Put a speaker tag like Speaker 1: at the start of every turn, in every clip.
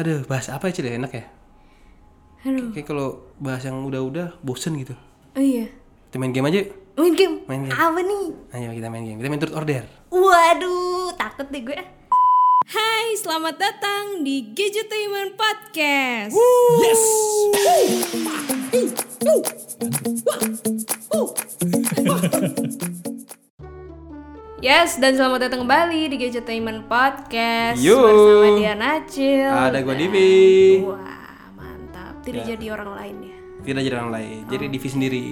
Speaker 1: Aduh, bahas apa ya Cil ya? Enak ya?
Speaker 2: Aduh.
Speaker 1: Kayak kalau bahas yang udah-udah bosen gitu.
Speaker 2: Oh iya.
Speaker 1: Kita main game aja. yuk.
Speaker 2: Main game.
Speaker 1: Main game.
Speaker 2: Apa nih?
Speaker 1: Ayo kita main game. Kita main turut order.
Speaker 2: Waduh, takut deh gue. Hai, selamat datang di Gadgetainment Podcast.
Speaker 1: Yes.
Speaker 2: Yes, dan selamat datang kembali di Gadgetainment Podcast
Speaker 1: Yo.
Speaker 2: bersama Dian Acil.
Speaker 1: Ada gua
Speaker 2: dan-
Speaker 1: Divi.
Speaker 2: Wah, mantap. Tidak jadi orang lain ya.
Speaker 1: Tidak jadi orang lain. Jadi Divi sendiri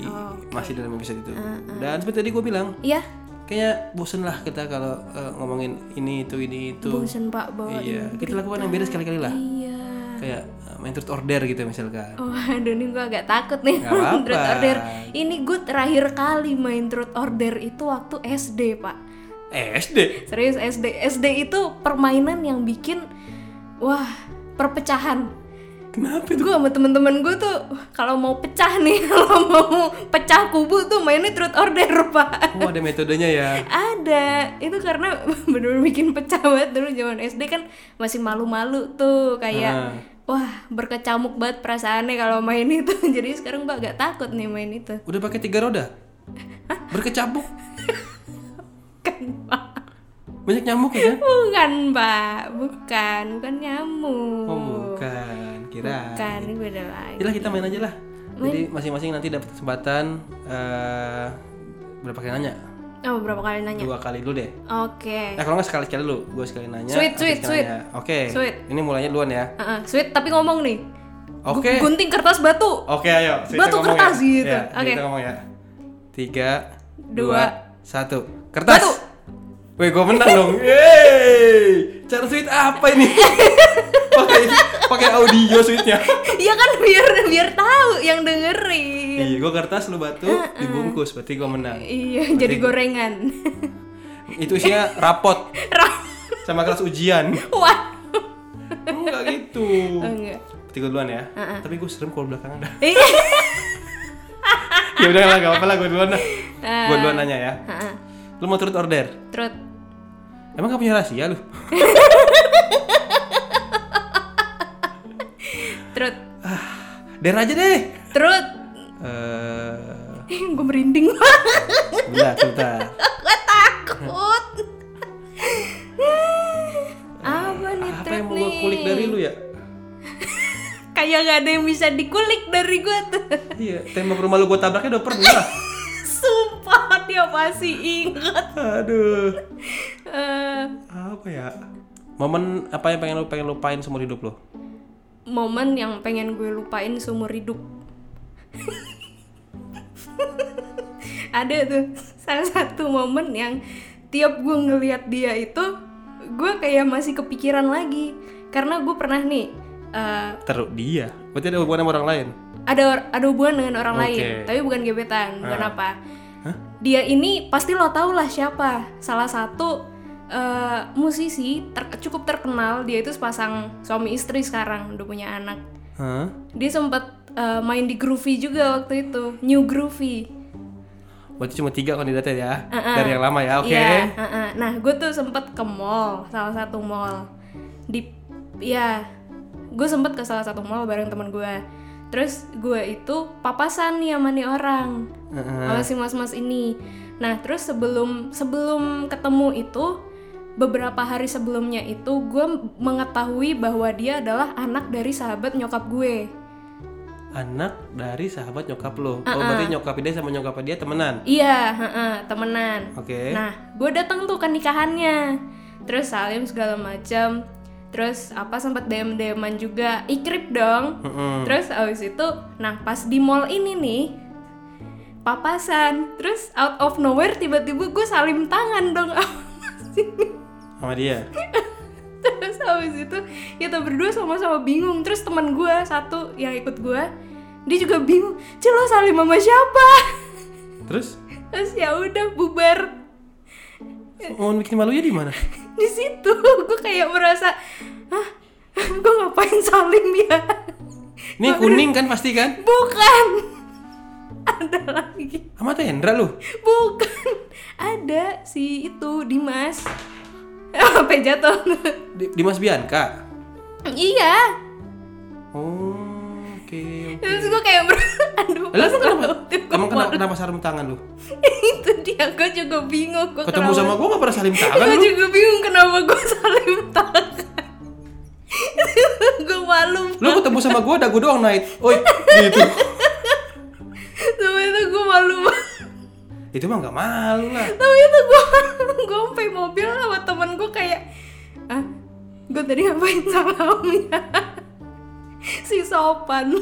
Speaker 1: masih dalam episode itu. Dan seperti tadi gue bilang,
Speaker 2: Iya,
Speaker 1: kayaknya bosen lah kita kalau eh, ngomongin ini itu ini itu.
Speaker 2: bosan Pak bawa.
Speaker 1: Iya, kita lakukan yang beda sekali-kali lah.
Speaker 2: Iya.
Speaker 1: Kayak eh, main turut order gitu misalkan.
Speaker 2: Waduh, ini gue agak takut nih
Speaker 1: Nggak apa-apa.
Speaker 2: Truth Order. Ini gue terakhir kali main Truth Order itu waktu SD, Pak.
Speaker 1: Eh, SD.
Speaker 2: Serius SD. SD itu permainan yang bikin wah, perpecahan.
Speaker 1: Kenapa?
Speaker 2: Gue sama temen-temen gue tuh wah, kalau mau pecah nih, kalau mau pecah kubu tuh mainnya Truth Order, Pak.
Speaker 1: Oh, ada metodenya ya.
Speaker 2: Ada, itu karena bener-bener bikin pecah banget dulu zaman SD kan masih malu-malu tuh kayak
Speaker 1: Ah.
Speaker 2: wah berkecamuk banget perasaannya kalau main itu jadi sekarang mbak agak takut nih main itu
Speaker 1: Udah pakai tiga roda? Berkecabuk?
Speaker 2: kan pak
Speaker 1: Banyak nyamuk ya?
Speaker 2: bukan mbak bukan bukan nyamuk
Speaker 1: Oh, bukan. Kira.
Speaker 2: bukan ini beda lagi
Speaker 1: Yalah kita main aja lah. Jadi masing-masing nanti dapat kesempatan eh berapa kali nanya?
Speaker 2: oh berapa kali nanya
Speaker 1: Dua kali dulu deh.
Speaker 2: oke
Speaker 1: Eh kalau nggak sekali sekali dulu, gue sekali nanya.
Speaker 2: Sweet,
Speaker 1: Afif
Speaker 2: sweet,
Speaker 1: sekali
Speaker 2: sweet.
Speaker 1: nanya. Oke.
Speaker 2: Sweet.
Speaker 1: Ini mulainya duluan ya.
Speaker 2: Ah, ah, sweet tapi ngomong nih Gu-
Speaker 1: Oke.
Speaker 2: gunting kertas batu
Speaker 1: Oke ayo. Sweet, kita
Speaker 2: Batu
Speaker 1: ngomong
Speaker 2: kertas
Speaker 1: ya.
Speaker 2: gitu.
Speaker 1: Ya,
Speaker 2: Oke.
Speaker 1: Kita ngomong ya. Tiga,
Speaker 2: Dua,
Speaker 1: dua, satu. Kertas.
Speaker 2: Batu.
Speaker 1: Wih, gue menang dong. Yeay. Cara sweet apa ini? pakai pakai audio sweetnya.
Speaker 2: Iya kan biar biar tahu yang dengerin
Speaker 1: Iya, gue kertas lu batu dibungkus, berarti gue menang.
Speaker 2: iya jadi gorengan
Speaker 1: Itu isinya rapot
Speaker 2: Ra-
Speaker 1: sama kelas ujian.
Speaker 2: Wah,
Speaker 1: Enggak gitu.
Speaker 2: enggak.
Speaker 1: Berarti gue duluan ya. Tapi gue serem kalau belakangan dah.
Speaker 2: Eh,
Speaker 1: ya udah lah, gak apa-apa lah gue duluan dah. Gue duluan nanya ya. Lu mau turut order?
Speaker 2: Trut.
Speaker 1: Emang gak punya rahasia lu?
Speaker 2: Trut.
Speaker 1: Der aja deh.
Speaker 2: Trut.
Speaker 1: Eh,
Speaker 2: Ih, gue merinding banget.
Speaker 1: bentar, bentar.
Speaker 2: Gue takut. Apa nih
Speaker 1: Eh, Apa
Speaker 2: Trut
Speaker 1: yang mau
Speaker 2: nih?
Speaker 1: gue kulik dari lu ya?
Speaker 2: Kayak gak ada yang bisa dikulik dari gue tuh.
Speaker 1: Iya, tembok rumah lu gue tabraknya udah pernah.
Speaker 2: Sumpah dia masih ingat.
Speaker 1: Aduh.
Speaker 2: Eh,
Speaker 1: Apa ya? Momen apa yang pengen lu pengen lupain seumur hidup lu?
Speaker 2: momen yang pengen gue lupain seumur hidup. Ada tuh salah satu momen yang tiap gue ngelihat dia itu gue kayak masih kepikiran lagi karena gue pernah nih eh,
Speaker 1: Terus dia. Berarti ada hubungan sama orang lain.
Speaker 2: ada or- ada hubungan dengan orang
Speaker 1: Oke.
Speaker 2: lain tapi bukan gebetan bukan apa dia ini pasti lo tau lah siapa salah satu eh, musisi ter- cukup terkenal dia itu sepasang suami istri sekarang udah punya anak
Speaker 1: Hah?
Speaker 2: dia sempat eh, main di Groovy juga waktu itu New Groovy
Speaker 1: Berarti cuma tiga kandidatnya ya dari yang lama ya, oke?
Speaker 2: Iya, heeh. nah gue tuh sempet ke mall salah satu mall di ya gue sempet ke salah satu mall bareng teman gue terus gue itu papasan nih sama nih orang
Speaker 1: Heeh.
Speaker 2: sama si mas-mas ini nah terus sebelum sebelum ketemu itu beberapa hari sebelumnya itu gue mengetahui bahwa dia adalah anak dari sahabat nyokap gue
Speaker 1: Anak dari sahabat nyokap lo. Oh, berarti nyokap dia sama nyokap dia temenan.
Speaker 2: iya heeh, temenan
Speaker 1: Oke.
Speaker 2: Nah, gue datang tuh ke nikahannya. Terus salim segala macam. Terus apa sempat dm dman juga. Ikrip dong.
Speaker 1: Mm-mm.
Speaker 2: Terus abis itu, nah pas di mall ini nih papasan. Terus out of nowhere tiba-tiba gue salim tangan dong.
Speaker 1: Sama dia.
Speaker 2: Terus habis itu kita berdua sama-sama bingung. Terus teman gue satu yang ikut gue, dia juga bingung. Cil lo salim sama siapa?
Speaker 1: Terus
Speaker 2: Terus ya udah bubar.
Speaker 1: momen bikin malunya di mana?
Speaker 2: di situ gue kayak merasa ah gue ngapain salim ya
Speaker 1: Ini kuning kan pasti kan?
Speaker 2: bukan ada lagi
Speaker 1: Sama Tendra lu.
Speaker 2: bukan ada si itu Dimas sampai jatuh
Speaker 1: Di- Dimas Bianca.
Speaker 2: Iya.
Speaker 1: Oh, oke. oke.
Speaker 2: Terus gue kayak ber... aduh.
Speaker 1: Lah, emang kenapa?
Speaker 2: perspektif gua
Speaker 1: Emang kenapa,
Speaker 2: baru-
Speaker 1: kenapa sarung tangan lu?
Speaker 2: itu dia gue juga bingung gue
Speaker 1: Ketemu sama gua gak pernah salim tangan
Speaker 2: gue
Speaker 1: lu.
Speaker 2: juga bingung kenapa gue saling tangan gue malu
Speaker 1: Lu ketemu sama gua dagu doang night. Oi, gitu.
Speaker 2: tapi itu gue malu banget
Speaker 1: Itu mah gak malu lah.
Speaker 2: tapi itu gue gue sampai mobil sama temen gue kayak ah gue tadi ngapain salam ya si sopan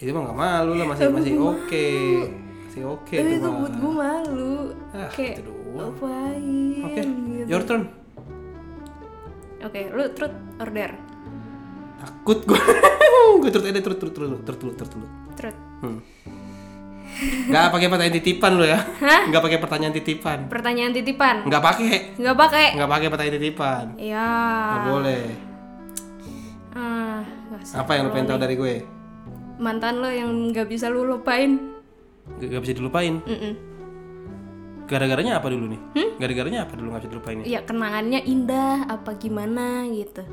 Speaker 1: Itu mah gak malu lah masih masih oke. Masih oke
Speaker 2: tapi
Speaker 1: itu
Speaker 2: itu
Speaker 1: mah.
Speaker 2: buat gue malu
Speaker 1: Ah,
Speaker 2: kayak
Speaker 1: itu doang.
Speaker 2: ngapain
Speaker 1: Oke,
Speaker 2: gitu.
Speaker 1: your turn.
Speaker 2: oke lu truth order
Speaker 1: Takut gua. gua turut ada turut turut turut turut turut turut. turut.
Speaker 2: truth
Speaker 1: Hmm. Gak pakai pertanyaan titipan lo ya? Gak pakai pertanyaan titipan.
Speaker 2: pertanyaan titipan
Speaker 1: Gak pakai.
Speaker 2: nggak pakai
Speaker 1: Gak pakai pertanyaan titipan.
Speaker 2: ya
Speaker 1: Gak boleh.
Speaker 2: ah nggak sih.
Speaker 1: Apa yang lo pengen tahu dari gue?
Speaker 2: mantan lo yang nggak bisa lu lupain
Speaker 1: Gak, gak bisa dilupain.
Speaker 2: Mm-mm.
Speaker 1: Gara-garanya apa dulu nih?
Speaker 2: Hmm?
Speaker 1: Gara-garanya apa dulu gak bisa dilupain ya?
Speaker 2: ya kenangannya indah apa gimana gitu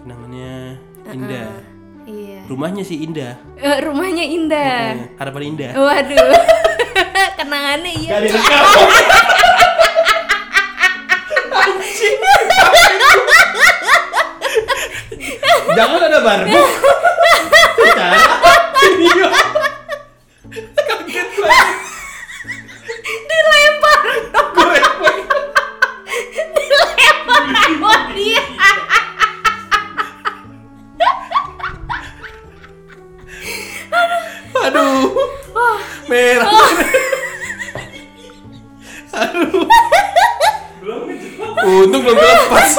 Speaker 1: Kenangannya
Speaker 2: Ah,
Speaker 1: indah.
Speaker 2: iya
Speaker 1: Rumahnya sih indah.
Speaker 2: Eh, rumahnya indah
Speaker 1: Eh, Harapan indah.
Speaker 2: waduh kenangannya iya
Speaker 1: Gak direkam. Anjing. Jangan ada Iya. barbu. Cara video. Kaget gue.
Speaker 2: dilempar
Speaker 1: Gue
Speaker 2: dilempar sama dia
Speaker 1: aduh. Merah. Aduh. Untung belum lepas.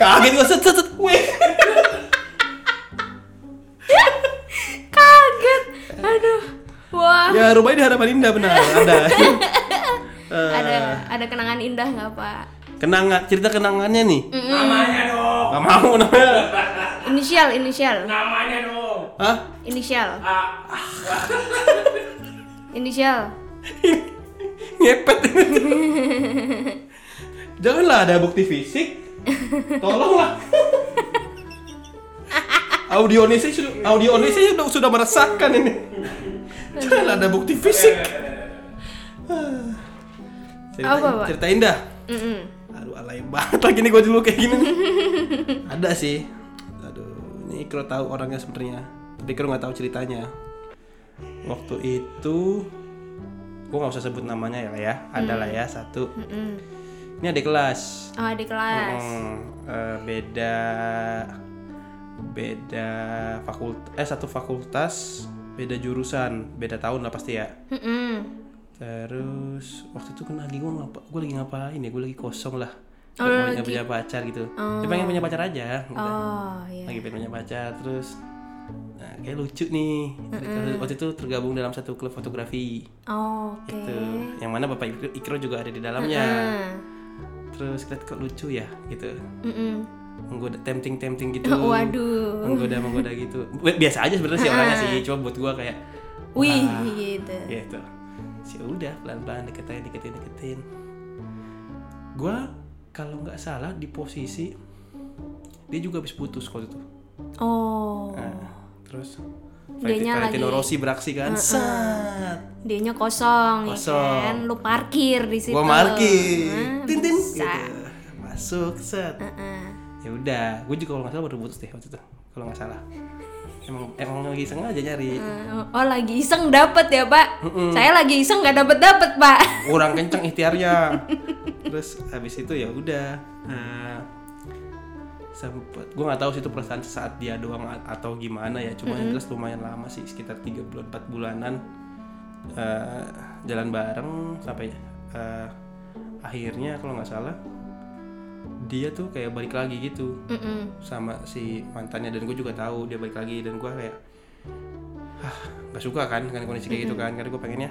Speaker 1: Kaget gue set set set. Weh.
Speaker 2: kaget aduh wah
Speaker 1: Ya rumahnya di harapan indah benar. Ada. Eh,
Speaker 2: ada ada kenangan indah nggak pak
Speaker 1: Kenangan cerita kenangannya nih.
Speaker 3: Namanya dong.
Speaker 1: Gak mau namanya.
Speaker 2: inisial inisial
Speaker 3: Namanya dong.
Speaker 1: Hah?
Speaker 2: inisial
Speaker 3: Ah,
Speaker 2: inisial
Speaker 1: Ngepet. Janganlah ada bukti fisik. Tolonglah. Audio ini sih sudah- audio ini sih sudah, sudah meresahkan ini. Janganlah ada bukti fisik. Ah. Cerita,
Speaker 2: Eh. Apa, Pak?
Speaker 1: cerita indah.
Speaker 2: Mm-mm.
Speaker 1: Aduh alay banget lagi nih gue dulu kayak gini. nih. ada sih. Aduh, ini Kro tahu orangnya sebenarnya. Tapi Kro nggak tahu ceritanya. Waktu itu gue nggak usah sebut namanya ya lah ya. Ada lah ya satu.
Speaker 2: Mm-mm.
Speaker 1: Ini adik kelas.
Speaker 2: oh di kelas
Speaker 1: Hmm, eh, beda beda fakultas eh satu fakultas beda jurusan beda tahun lah pasti ya
Speaker 2: Mm-mm.
Speaker 1: Terus waktu itu kan lagi gue ngapa, gue lagi ngapain ya? Gue lagi kosong lah. Gak
Speaker 2: Oh, lu
Speaker 1: mau- gak
Speaker 2: lagi-
Speaker 1: punya pacar gitu. Dia pengen punya pacar aja. gitu.
Speaker 2: oh iya
Speaker 1: Lagi pengen punya pacar terus. Nah, kayak lucu nih. Waktu itu tergabung dalam satu klub fotografi.
Speaker 2: Oh, oke
Speaker 1: Gitu. Yang mana Bapak Ikro- Ikro juga ada di dalamnya.
Speaker 2: Ah.
Speaker 1: Terus lihat kok lucu ya gitu.
Speaker 2: Mm-mm.
Speaker 1: Menggoda tempting-tempting gitu.
Speaker 2: waduh
Speaker 1: Menggoda menggoda gitu. Biasa aja sebenarnya sih orangnya sih. Cuma buat gue kayak
Speaker 2: Ah. wih
Speaker 1: wah,
Speaker 2: gitu
Speaker 1: gitu sih udah pelan-pelan deketin deketin deketin gua kalau nggak salah di posisi dia juga habis putus waktu itu
Speaker 2: oh
Speaker 1: Nah, terus
Speaker 2: Dianya
Speaker 1: Valentino
Speaker 2: lagi-
Speaker 1: Rossi beraksi kan Sat.
Speaker 2: dianya kosong,
Speaker 1: Kosong.
Speaker 2: ya kan lu parkir di situ
Speaker 1: gua markir
Speaker 2: Nah,
Speaker 1: tin tin
Speaker 2: bisa. Ah,
Speaker 1: gitu. masuk set
Speaker 2: Heeh.
Speaker 1: ya udah gua juga kalau nggak salah baru putus deh waktu itu kalau nggak salah emang emang lagi sengaja nyari
Speaker 2: oh lagi iseng dapet ya pak saya lagi iseng nggak dapet dapet pak
Speaker 1: kurang kenceng ikhtiarnya terus habis itu ya udah nah, sempet gue nggak tahu sih itu perasaan saat dia doang a- atau gimana ya cuma yang jelas lumayan lama sih sekitar 3 bulan 4 bulanan eh, jalan bareng sampai eh, akhirnya kalau nggak salah dia tuh kayak balik lagi gitu
Speaker 2: Mm-mm.
Speaker 1: sama si mantannya dan gue juga tahu dia balik lagi dan gue kayak ah nggak suka kan kan kondisi kayak gitu kan karena gue pengennya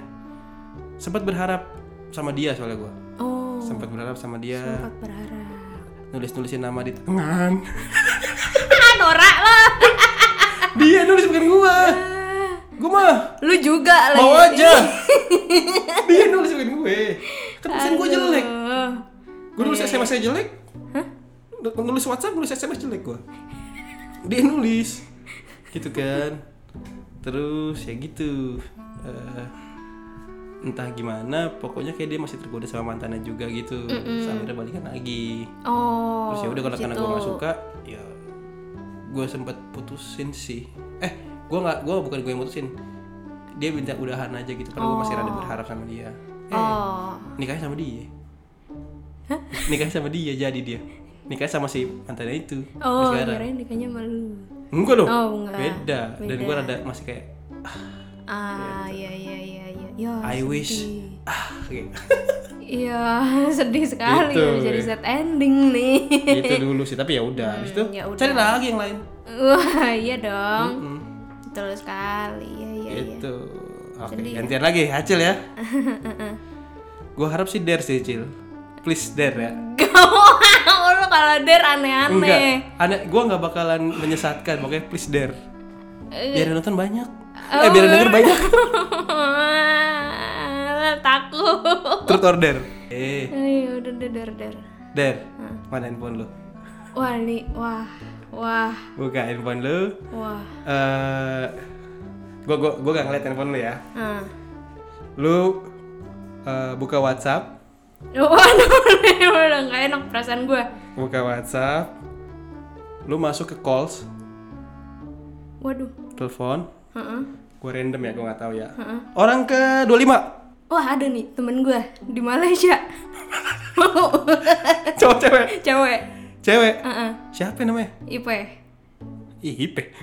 Speaker 1: sempat berharap sama dia soalnya gue
Speaker 2: oh
Speaker 1: sempat berharap sama dia
Speaker 2: sempat berharap
Speaker 1: nulis nulisin nama di tangan
Speaker 2: ah norak lah
Speaker 1: dia nulis bukan gue gue mah
Speaker 2: lu juga lagi
Speaker 1: mau aja dia nulis bukan gue kan tulisan gue jelek
Speaker 2: Aduh. Iya,
Speaker 1: gue nulis sms nya jelek Nulis WhatsApp, nulis SMS jelek gue dia nulis gitu kan terus ya gitu Eh, entah gimana pokoknya kayak dia masih tergoda sama mantannya juga gitu Terus akhirnya balikan lagi
Speaker 2: Oh.
Speaker 1: terus ya udah kalau karena
Speaker 2: gitu.
Speaker 1: gue nggak suka ya gue sempet putusin sih eh gue nggak gue bukan gue yang putusin dia minta udahan aja gitu karena gue masih rada berharap sama dia eh
Speaker 2: Oh.
Speaker 1: nikahnya sama dia nikahnya sama dia jadi dia nikahnya sama si mantannya itu
Speaker 2: Oh,
Speaker 1: sekarang
Speaker 2: kirain nikahnya malu.
Speaker 1: enggak dong
Speaker 2: Oh, enggak.
Speaker 1: beda. dan
Speaker 2: Beda.
Speaker 1: gue rada masih kayak
Speaker 2: Ah, iya iya iya iya. Ya,
Speaker 1: I
Speaker 2: sedih.
Speaker 1: wish ah kayak
Speaker 2: Iya, sedih sekali
Speaker 1: Gitu,
Speaker 2: ya, jadi
Speaker 1: ya.
Speaker 2: sad ending nih.
Speaker 1: gitu dulu sih tapi ya udah habis itu
Speaker 2: ya udah.
Speaker 1: cari lagi yang lain
Speaker 2: Wah, iya dong.
Speaker 1: Mm,
Speaker 2: Betul sekali. Iya iya iya.
Speaker 1: gitu oke gantian lagi Acil ya gue harap sih dare sih Cil please dare ya
Speaker 2: Gak mau lu kalau der aneh-aneh.
Speaker 1: enggak aneh gue nggak bakalan menyesatkan makanya please dare biar yang nonton banyak
Speaker 2: Oh.
Speaker 1: eh biar yang denger banyak
Speaker 2: Takut.
Speaker 1: truth order eh
Speaker 2: Ayo udah udah der der.
Speaker 1: dare mana handphone lu
Speaker 2: Wah nih, wah, wah,
Speaker 1: buka handphone lu
Speaker 2: wah.
Speaker 1: eh gue gue gue gak ngeliat handphone lu ya
Speaker 2: Ah.
Speaker 1: lu eh, buka WhatsApp
Speaker 2: Waduh, udah nggak enak perasaan gue.
Speaker 1: buka WhatsApp lu masuk ke calls
Speaker 2: Waduh.
Speaker 1: telepon
Speaker 2: Heeh.
Speaker 1: gue random ya gue nggak tahu ya orang ke 25
Speaker 2: Wah ada nih temen gue di Malaysia. Mau
Speaker 1: cowok cewek
Speaker 2: cewek.
Speaker 1: cewek
Speaker 2: Heeh.
Speaker 1: siapa namanya
Speaker 2: Ipe.
Speaker 1: Ih, Ipe.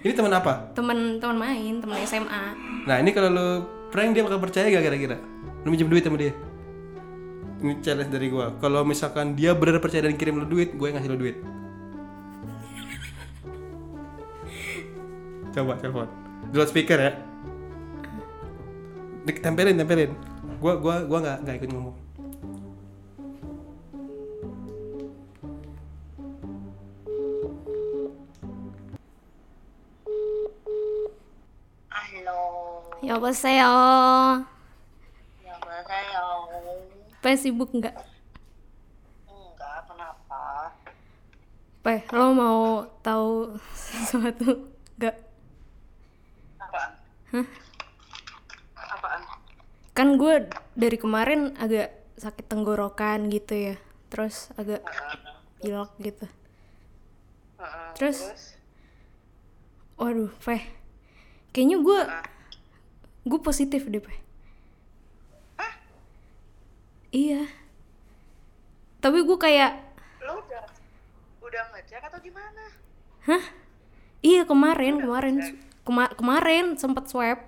Speaker 1: ini teman apa
Speaker 2: Temen temen main, temen SMA.
Speaker 1: Nah ini kalau lu prank dia bakal percaya gak kira-kira? Lu minjem duit sama dia? Ini challenge dari gua. Kalau misalkan dia benar percaya dan kirim lu duit, gue ngasih lu duit. Coba telepon. Di speaker ya. Dik, tempelin, tempelin. Gua gua gua nggak nggak ikut ngomong.
Speaker 4: Halo,
Speaker 2: Ya apa saya?
Speaker 4: yang saya
Speaker 2: Pe sibuk nggak?
Speaker 4: enggak kenapa?
Speaker 2: Pe, lo mau tahu sesuatu nggak?
Speaker 4: Apaan? Apaan?
Speaker 2: Kan gue dari kemarin agak sakit tenggorokan gitu ya. Terus agak pilek gitu.
Speaker 4: Heeh,
Speaker 2: Terus? Waduh, Pe. Kayaknya gue gue positif deh, Pe. Iya. Tapi gue kayak
Speaker 4: lu udah udah ngecek atau gimana?
Speaker 2: Iya kemarin kemarin Kema- kemarin sempet swab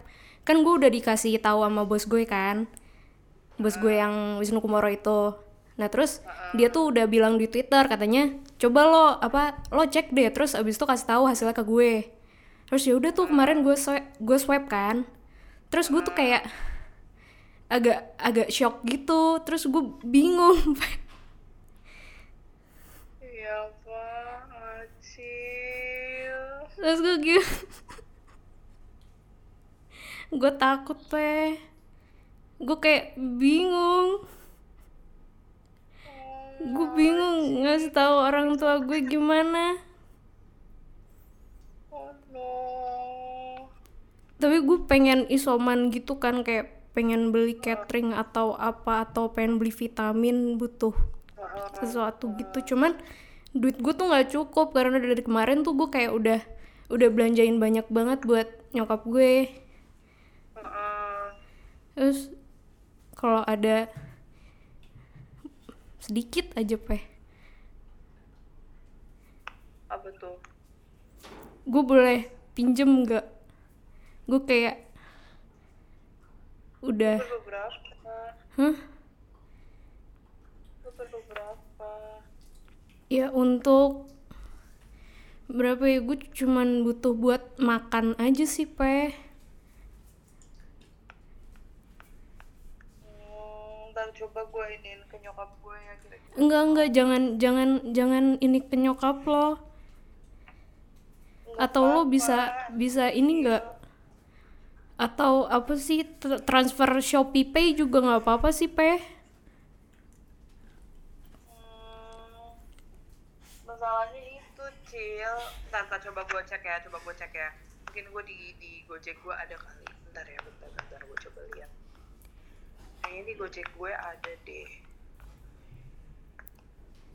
Speaker 2: kan gue udah dikasih tahu sama bos gue kan bos gue yang Wisnu Kumoro itu nah terus dia tuh udah bilang di Twitter katanya coba lo apa lo cek deh terus abis itu kasih tahu hasilnya ke gue terus ya udah tuh kemarin gue swab gue swab kan terus gue tuh kayak agak agak shock gitu terus gue bingung
Speaker 4: Iya pak, Acil.
Speaker 2: terus gue gitu gue takut pe gue kayak bingung gue bingung ngasih tahu orang tua gue gimana
Speaker 4: Oh no.
Speaker 2: tapi gue pengen isoman gitu kan kayak pengen beli catering atau apa atau pengen beli vitamin butuh sesuatu gitu cuman duit gue tuh nggak cukup karena dari kemarin tuh gue kayak udah udah belanjain banyak banget buat nyokap gue
Speaker 4: Heeh.
Speaker 2: Terus kalau ada sedikit aja peh,
Speaker 4: apa tuh?
Speaker 2: gue boleh pinjem nggak? Gue kayak udah,
Speaker 4: Perlu berapa?
Speaker 2: hah?
Speaker 4: Lu perlu berapa?
Speaker 2: Ya untuk berapa ya? Gue cuman butuh buat makan aja sih peh.
Speaker 4: Hmm, ntar coba gue iniin ke nyokap gue ya kira-kira.
Speaker 2: Enggak enggak, jangan jangan jangan ini ke nyokap lo. Atau lo bisa bisa ini enggak? Atau apa sih tr- transfer Shopee Pay juga nggak apa-apa sih peh?
Speaker 4: Hmm, masalahnya itu kecil ntar, ntar coba gue cek ya coba gue cek ya mungkin gue di di gojek gue ada kali bentar ya bentar bentar gue coba lihat kayaknya di gojek gue ada deh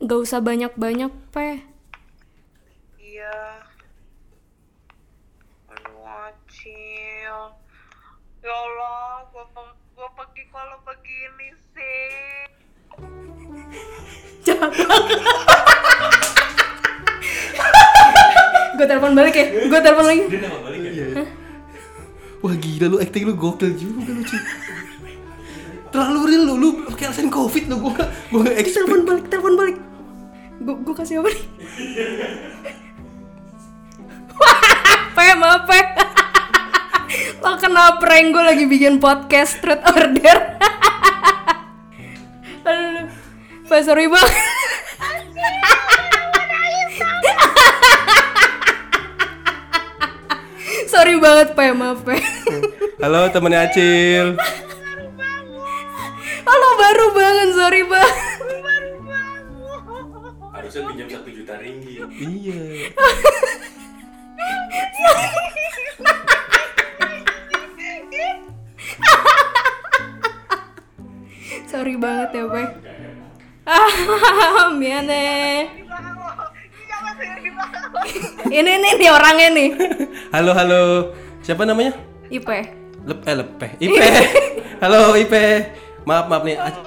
Speaker 2: Gak usah banyak-banyak, Pe.
Speaker 4: iya aduh acil ya Allah gue gue pergi kalau begini sih
Speaker 2: Gue telepon balik ya. Gue telepon lagi.
Speaker 3: Dia nggak balik ya?
Speaker 1: Iya. iya. Wah gila lu acting lu gokil juga lu Ci. Terlalu real lu, lu pakai alasan covid lu gua gua nggak expect.
Speaker 2: Telepon balik, telepon balik. Gue gue kasih apa nih? Pe, maaf, Pe. Lo kena prank gue lagi bikin podcast street order. Aduh, Pak sorry bang. sorry banget, Pe, maaf, Pe.
Speaker 1: Halo temennya Acil.
Speaker 2: Halo baru banget, sorry bang.
Speaker 3: Harusnya pinjam satu juta ringgit.
Speaker 1: Iya.
Speaker 2: Sorry banget ya, Pak. Ah, miane. Ini nih nih orangnya nih.
Speaker 1: Halo halo. Siapa namanya?
Speaker 2: Ipe.
Speaker 1: Lep eh lepeh. Ipe. halo Ipe. Maaf maaf nih. Ac-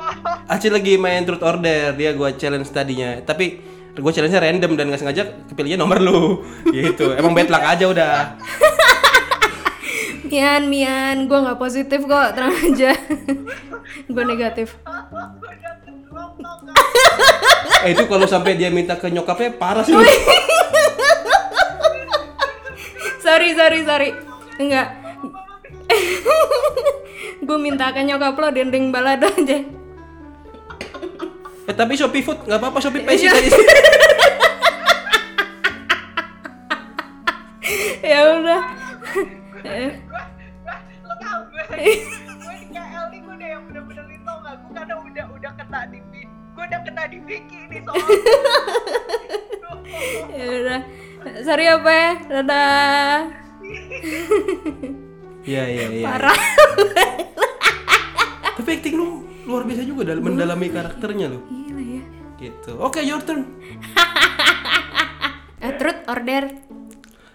Speaker 1: Acil lagi main truth order. Dia gua challenge tadinya. Tapi gua challenge-nya random dan nggak sengaja kepilihnya nomor lu. gitu. Emang bad luck aja udah.
Speaker 2: Mian, Mian, gua nggak positif kok, tenang aja. gua negatif.
Speaker 1: Eh itu kalau sampai dia minta ke nyokapnya parah sih.
Speaker 2: Sorry, sorry, sorry. Enggak. gua minta ke nyokap lo dendeng balado aja.
Speaker 1: Eh tapi Shopee Food nggak apa-apa Shopee Pay sih tadi.
Speaker 2: ya udah. Eh,
Speaker 4: lo tau gue gue di KL nih gue udah yang bener-bener ini tau gak gue karena udah udah kena di bi- gue udah kena di Vicky nih soalnya
Speaker 2: ya udah. Sorry ya, Pak. Dadah.
Speaker 1: Iya iya iya.
Speaker 2: Parah.
Speaker 1: Tapi acting lu luar biasa juga dalam mendalami karakternya lu.
Speaker 2: Gila ya.
Speaker 1: Gitu. Oke, your turn.
Speaker 2: Eh, truth or dare?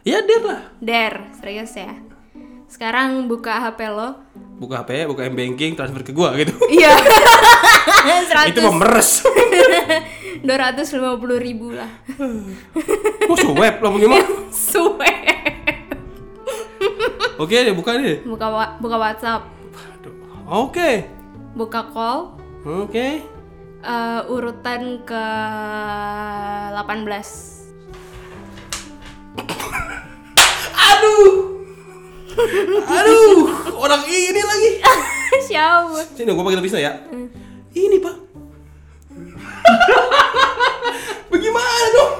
Speaker 1: Ya, Der lah.
Speaker 2: Dare, serius ya. Sekarang buka HP lo.
Speaker 1: Buka HP, buka M banking, transfer ke gua gitu.
Speaker 2: Iya.
Speaker 1: Itu mau
Speaker 2: 100
Speaker 1: meres.
Speaker 2: 250 ribu lah.
Speaker 1: Mau suweb lo mau gimana?
Speaker 2: Suwe.
Speaker 1: Oke, deh, buka deh.
Speaker 2: Buka wa- buka WhatsApp,
Speaker 1: Aduh. Oke.
Speaker 2: buka call
Speaker 1: Oke.
Speaker 2: eh, urutan ke 18.
Speaker 1: Aduh. Aduh, orang ini lagi.
Speaker 2: Siapa?
Speaker 1: Sini gua panggil Tisna ya.
Speaker 2: Hmm.
Speaker 1: Ini, Pak. Bagaimana dong?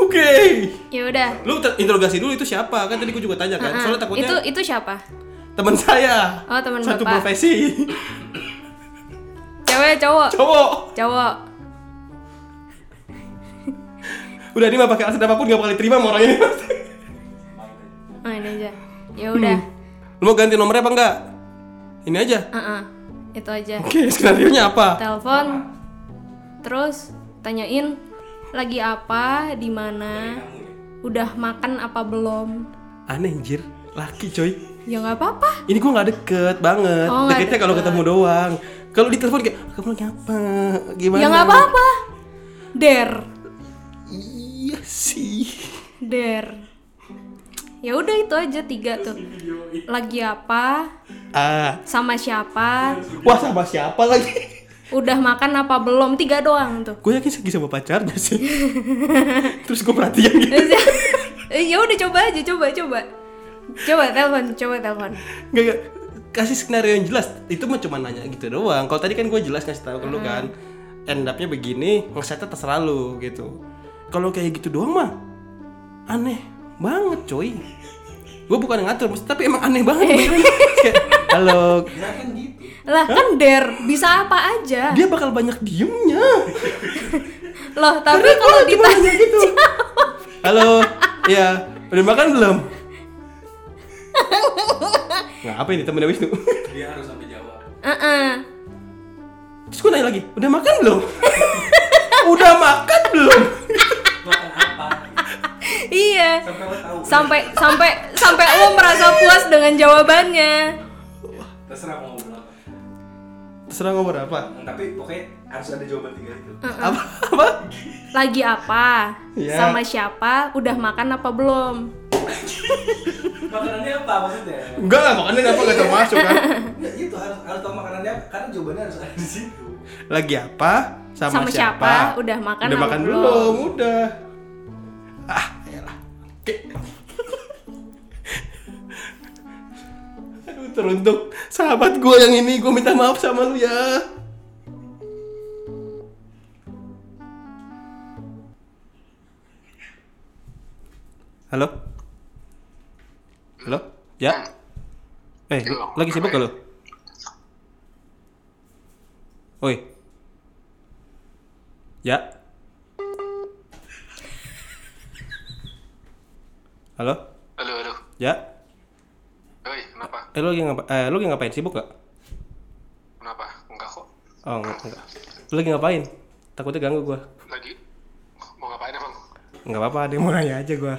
Speaker 1: Oke.
Speaker 2: Ya udah.
Speaker 1: Lu ter- interogasi dulu itu siapa? Kan tadi gua juga tanya kan.
Speaker 2: Ah,
Speaker 1: Soalnya takutnya
Speaker 2: Itu itu siapa?
Speaker 1: teman saya.
Speaker 2: Oh, teman
Speaker 1: Satu
Speaker 2: Bapak.
Speaker 1: profesi.
Speaker 2: Cewek, cowok?
Speaker 1: Cowok.
Speaker 2: Cowok.
Speaker 1: Udah ini mah pakai alasan apapun gak bakal diterima sama orang ini.
Speaker 2: Oh, ini aja. Ya
Speaker 1: Hmm.
Speaker 2: udah.
Speaker 1: Lu mau ganti nomornya apa enggak? Ini aja.
Speaker 2: Ah, ah. Itu aja.
Speaker 1: Oke, skenario-nya apa?
Speaker 2: telepon terus tanyain lagi apa di mana udah makan apa belum
Speaker 1: Aneh anjir, laki coy.
Speaker 2: ya nggak apa-apa
Speaker 1: Ini gua nggak deket banget.
Speaker 2: Oh, nggak
Speaker 1: Deketnya kalau
Speaker 2: deket.
Speaker 1: ketemu doang. Kalau ditelepon kayak "Ah, kamu lagi apa? Gimana?
Speaker 2: ya nggak apa-apa der
Speaker 1: Iya sih.
Speaker 2: der ya udah itu aja tiga tuh lagi apa
Speaker 1: Ah,
Speaker 2: sama siapa
Speaker 1: wah sama siapa lagi?
Speaker 2: udah makan apa belum tiga doang tuh
Speaker 1: Gue yakin segi sama pacarnya sih. Terus gue perhatian gitu.
Speaker 2: ya udah coba aja coba coba coba telepon coba telepon
Speaker 1: Gak, gak. kasih skenario yang jelas itu mah cuma nanya gitu doang kalau tadi kan gue jelas ngasih tahu ke lu kan end up-nya begini ngesetnya terserah lu gitu kalau kayak gitu doang mah aneh banget coy gue bukan ngatur maksud- tapi emang aneh banget beneran. Kayak, halo
Speaker 2: lah kan der bisa apa aja
Speaker 1: dia bakal banyak diemnya
Speaker 2: Loh, tapi kalau ditanya
Speaker 1: gitu. Halo, ya udah makan belum? Nah, apa ini temennya Wisnu?
Speaker 3: Dia harus sampai jawab.
Speaker 2: Heeh.
Speaker 1: Terus gue nanya lagi, udah makan belum? udah makan belum?
Speaker 3: Makan apa?
Speaker 2: Iya.
Speaker 3: Sampai lo Kan tahu.
Speaker 2: Sampai sampai sampai lo merasa puas dengan jawabannya.
Speaker 3: kan? Terserah mau ngomong apa. Hmm,
Speaker 1: Terserah ngomong apa?
Speaker 3: Tapi pokoknya harus ada jawaban tiga itu.
Speaker 1: Apa? apa?
Speaker 2: Lagi apa?
Speaker 1: Iya.
Speaker 2: Sama siapa? Udah makan apa belum?
Speaker 3: Makanannya apa maksudnya?
Speaker 1: Enggak lah, makannya kenapa gak termasuk kan?
Speaker 3: Ya itu harus harus tahu makanannya apa. Karena jawabannya harus ada di situ.
Speaker 1: Lagi apa? Sama,
Speaker 2: Sama siapa? Udah makan
Speaker 1: Udah
Speaker 2: apa
Speaker 1: makan
Speaker 2: belum?
Speaker 1: belum? Udah. Ah, elah. Oke. Aduh, teruntuk sahabat gue yang ini gue minta maaf sama lu ya. Halo? Halo? Ya? Eh, lu lagi sibuk gak lu? Oi. Ya. Halo?
Speaker 5: Halo, halo.
Speaker 1: Ya.
Speaker 5: Oi, kenapa?
Speaker 1: Eh lu lagi ngapain? Eh, lu lagi ngapain? Sibuk gak?
Speaker 5: Kenapa? Enggak kok.
Speaker 1: Oh, enggak, enggak. Lu lagi ngapain? Takutnya ganggu gua.
Speaker 5: Lagi mau ngapain emang?
Speaker 1: Enggak apa-apa, ada yang mau nanya aja gua.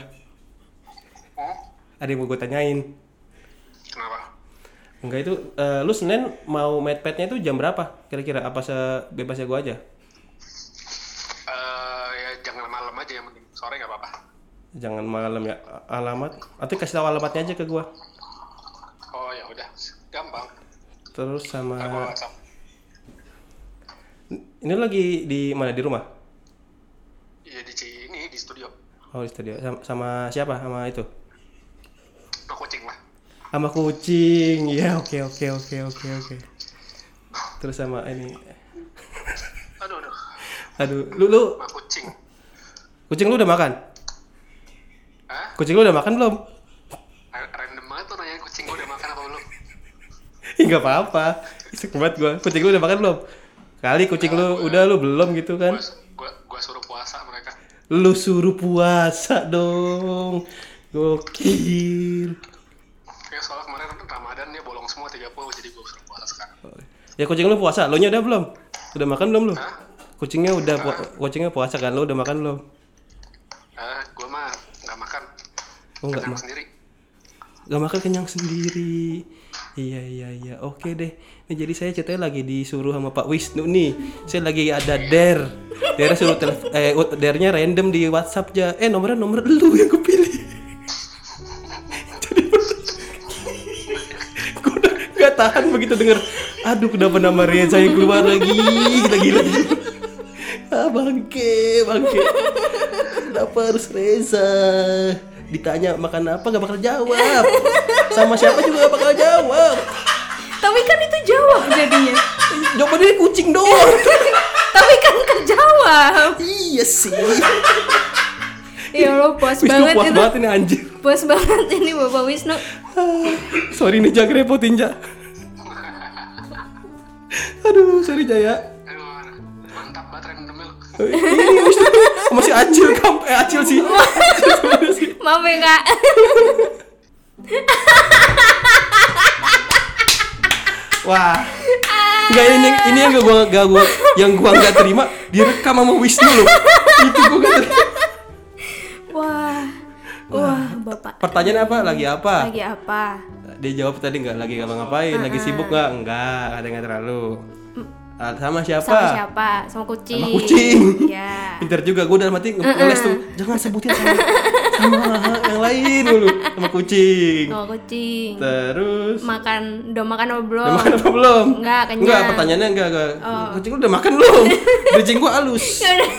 Speaker 5: Hmm?
Speaker 1: Ada yang mau gua tanyain.
Speaker 5: Kenapa?
Speaker 1: Enggak itu eh, lu Senin mau medpadnya itu jam berapa? Kira-kira apa sebebasnya gua aja?
Speaker 5: Eh, ya jangan malam aja yang penting. Sore nggak apa-apa.
Speaker 1: Jangan malam ya alamat. Atau kasih tahu alamatnya aja ke gua.
Speaker 5: Oh ya udah, gampang.
Speaker 1: Terus sama
Speaker 5: Aku WhatsApp.
Speaker 1: ini lu lagi di mana di rumah?
Speaker 5: Iya di sini di studio.
Speaker 1: Oh, di studio. Sama, sama siapa? Sama itu.
Speaker 5: Ke kucing lah.
Speaker 1: Sama kucing. Ya, oke oke oke oke oke. Terus sama ini.
Speaker 5: Aduh, aduh.
Speaker 1: Aduh, lu lu
Speaker 5: Ke kucing.
Speaker 1: kucing lu udah makan?
Speaker 5: Hah?
Speaker 1: Kucing lu udah makan belum?
Speaker 5: Ra- Random banget tuh nanya kucing gua udah makan apa belum?
Speaker 1: Ih, nggak apa-apa. Isek banget gua. Kucing lu udah makan belum? Kali kucing lu udah lu belum gitu kan.
Speaker 5: Gua, gua, gua suruh puasa mereka.
Speaker 1: Lu suruh puasa dong. Gokil.
Speaker 5: Ya soalnya kemarin Ramadan dia bolong semua 30 jadi gua suruh puasa sekarang.
Speaker 1: Ya kucing lu puasa, lo nya udah belum? Udah makan belum lu?
Speaker 5: Hah?
Speaker 1: Kucingnya udah pu- kucingnya puasa kan? Lu udah makan belum?
Speaker 5: Eh, gua mah nggak makan.
Speaker 1: Oh, nggak
Speaker 5: Makan
Speaker 1: ma-
Speaker 5: sendiri.
Speaker 1: Gak makan kenyang sendiri. Iya iya iya. Oke deh. Nah, jadi saya ceritanya lagi disuruh sama Pak Wisnu nih. Saya lagi ada dare. Dare suruh telef- eh ut- dare-nya random di WhatsApp aja. Eh nomornya nomor lu yang gue pilih. jadi gue udah gak tahan begitu denger. Aduh kenapa nama Reza yang keluar lagi? Gila gila. Ah, bangke, bangke. Kenapa harus Reza? Ditanya makan apa gak bakal jawab. Sama siapa juga gak bakal jawab.
Speaker 2: Tapi kan itu jawab jadinya.
Speaker 1: Jawabannya kucing doang.
Speaker 2: Tapi kan kejawab.
Speaker 1: iya sih.
Speaker 2: Ya lo puas
Speaker 1: Wisnu
Speaker 2: banget
Speaker 1: puas
Speaker 2: itu.
Speaker 1: banget ini anjir.
Speaker 2: Puas banget ini Bapak Wisnu.
Speaker 1: Ah, sorry nih jangan repotin Ja. Aduh, sorry Jaya.
Speaker 5: Aduh, mantap banget random milk.
Speaker 1: Ini Wisnu tuh masih acil kam eh acil sih. Acil sebenarnya sih.
Speaker 2: Maaf ya kak. Ah.
Speaker 1: Wah. Enggak ini ini yang gua gak gua yang gua nggak terima direkam sama Wisnu loh. Itu gua gak terima.
Speaker 2: Wah. Wah, Bapak.
Speaker 1: Pertanyaan apa? Lagi apa?
Speaker 2: Lagi Ah. apa?
Speaker 1: Dia jawab tadi nggak lagi ngapa ngapain, lagi sibuk nggak? Enggak, ada nggak terlalu. Ah, sama siapa?
Speaker 2: Mm. Sama siapa? Sama kucing.
Speaker 1: Sama kucing.
Speaker 2: Ya.
Speaker 1: Pinter juga gue dalam hati nge- ngeles tuh. Jangan sebutin sama, sama yang lain dulu sama kucing.
Speaker 2: Sama kucing.
Speaker 1: Terus
Speaker 2: Makan, udah makan apa belum?
Speaker 1: udah makan apa belum?
Speaker 2: Enggak, kenyang. Oh.
Speaker 1: Enggak, pertanyaannya enggak, enggak. Kucing lu udah makan belum? Kucing gua halus.
Speaker 2: Yaudah.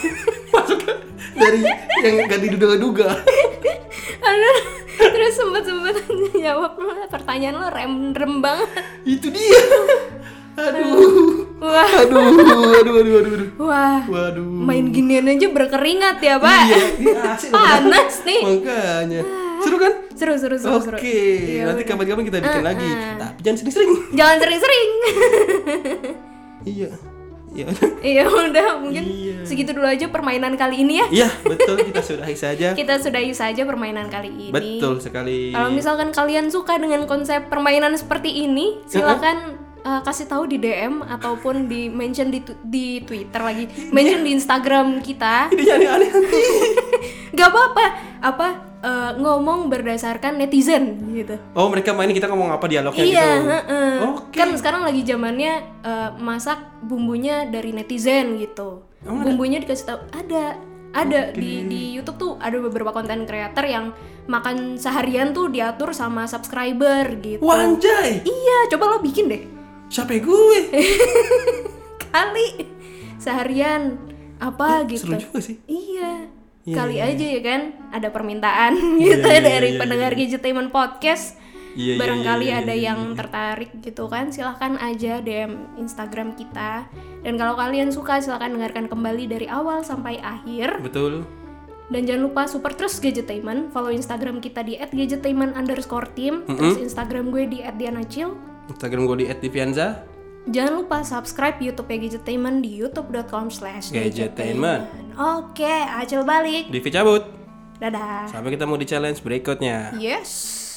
Speaker 1: Masuknya dari yang gak diduga-duga.
Speaker 2: Aduh, terus sempet sempet jawab pertanyaan lo random banget.
Speaker 1: Itu dia. Aduh.
Speaker 2: Wah,
Speaker 1: Aduh, aduh, aduh, aduh, aduh.
Speaker 2: wah.
Speaker 1: Waduh.
Speaker 2: Main ginian aja berkeringat
Speaker 1: Iya,
Speaker 2: ya, Pak.
Speaker 1: ini asik loh.
Speaker 2: Panas nih.
Speaker 1: Makanya. Seru kan?
Speaker 2: Seru seru Eh. Ah. seru
Speaker 1: Oke,
Speaker 2: seru. Iya, ah.
Speaker 1: nanti
Speaker 2: udah.
Speaker 1: kapan-kapan kita bikin lagi. Tapi jangan sering-sering.
Speaker 2: Jangan sering-sering.
Speaker 1: Iya. ya udah.
Speaker 2: Iya udah mungkin
Speaker 1: Iya.
Speaker 2: segitu dulu aja permainan kali ini ya.
Speaker 1: Iya, betul kita sudahi saja.
Speaker 2: Kita sudahi saja permainan kali ini.
Speaker 1: Betul sekali.
Speaker 2: Kalau misalkan kalian suka dengan konsep permainan seperti ini, silakan uh, kasih tahu di DM ataupun di mention di tu- di Twitter lagi, mention di Instagram kita.
Speaker 1: Ini jadi aneh nanti.
Speaker 2: Gak apa-apa, apa uh, ngomong berdasarkan netizen gitu.
Speaker 1: Oh, mereka main kita ngomong apa dialognya
Speaker 2: iya,
Speaker 1: gitu.
Speaker 2: heeh.
Speaker 1: Oke.
Speaker 2: kan sekarang lagi zamannya uh, masak bumbunya dari netizen gitu.
Speaker 1: Emang Oh, ada?
Speaker 2: bumbunya dikasih tahu ada, ada di di YouTube tuh ada beberapa konten creator yang makan seharian tuh diatur sama subscriber gitu.
Speaker 1: Wanjay,
Speaker 2: Iya, coba lo bikin deh.
Speaker 1: capek gue.
Speaker 2: Eh, Kali seharian apa gitu.
Speaker 1: Seru juga sih.
Speaker 2: Iya.
Speaker 1: Iya,
Speaker 2: Kali
Speaker 1: iya,
Speaker 2: aja ya kan ada permintaan
Speaker 1: Iya,
Speaker 2: gitu
Speaker 1: iya,
Speaker 2: dari
Speaker 1: iya,
Speaker 2: pendengar Gadgetainment Podcast.
Speaker 1: Iya, iya,
Speaker 2: Barangkali
Speaker 1: iya, iya,
Speaker 2: ada
Speaker 1: iya,
Speaker 2: yang tertarik gitu kan, silahkan aja DM Instagram kita. Dan kalau kalian suka silahkan dengarkan kembali dari awal sampai akhir.
Speaker 1: Betul.
Speaker 2: Dan jangan lupa super terus Gadgetainment, follow Instagram kita di @gadgetainment underscore team, terus Instagram gue di @dianacil.
Speaker 1: Instagram gue di @divianza.
Speaker 2: Jangan lupa subscribe YouTube Gadgetainment di youtube.com slash
Speaker 1: Gadgetainment.
Speaker 2: Oke, acil balik.
Speaker 1: Divi cabut.
Speaker 2: Dadah.
Speaker 1: Sampai ketemu di challenge berikutnya.
Speaker 2: Yes.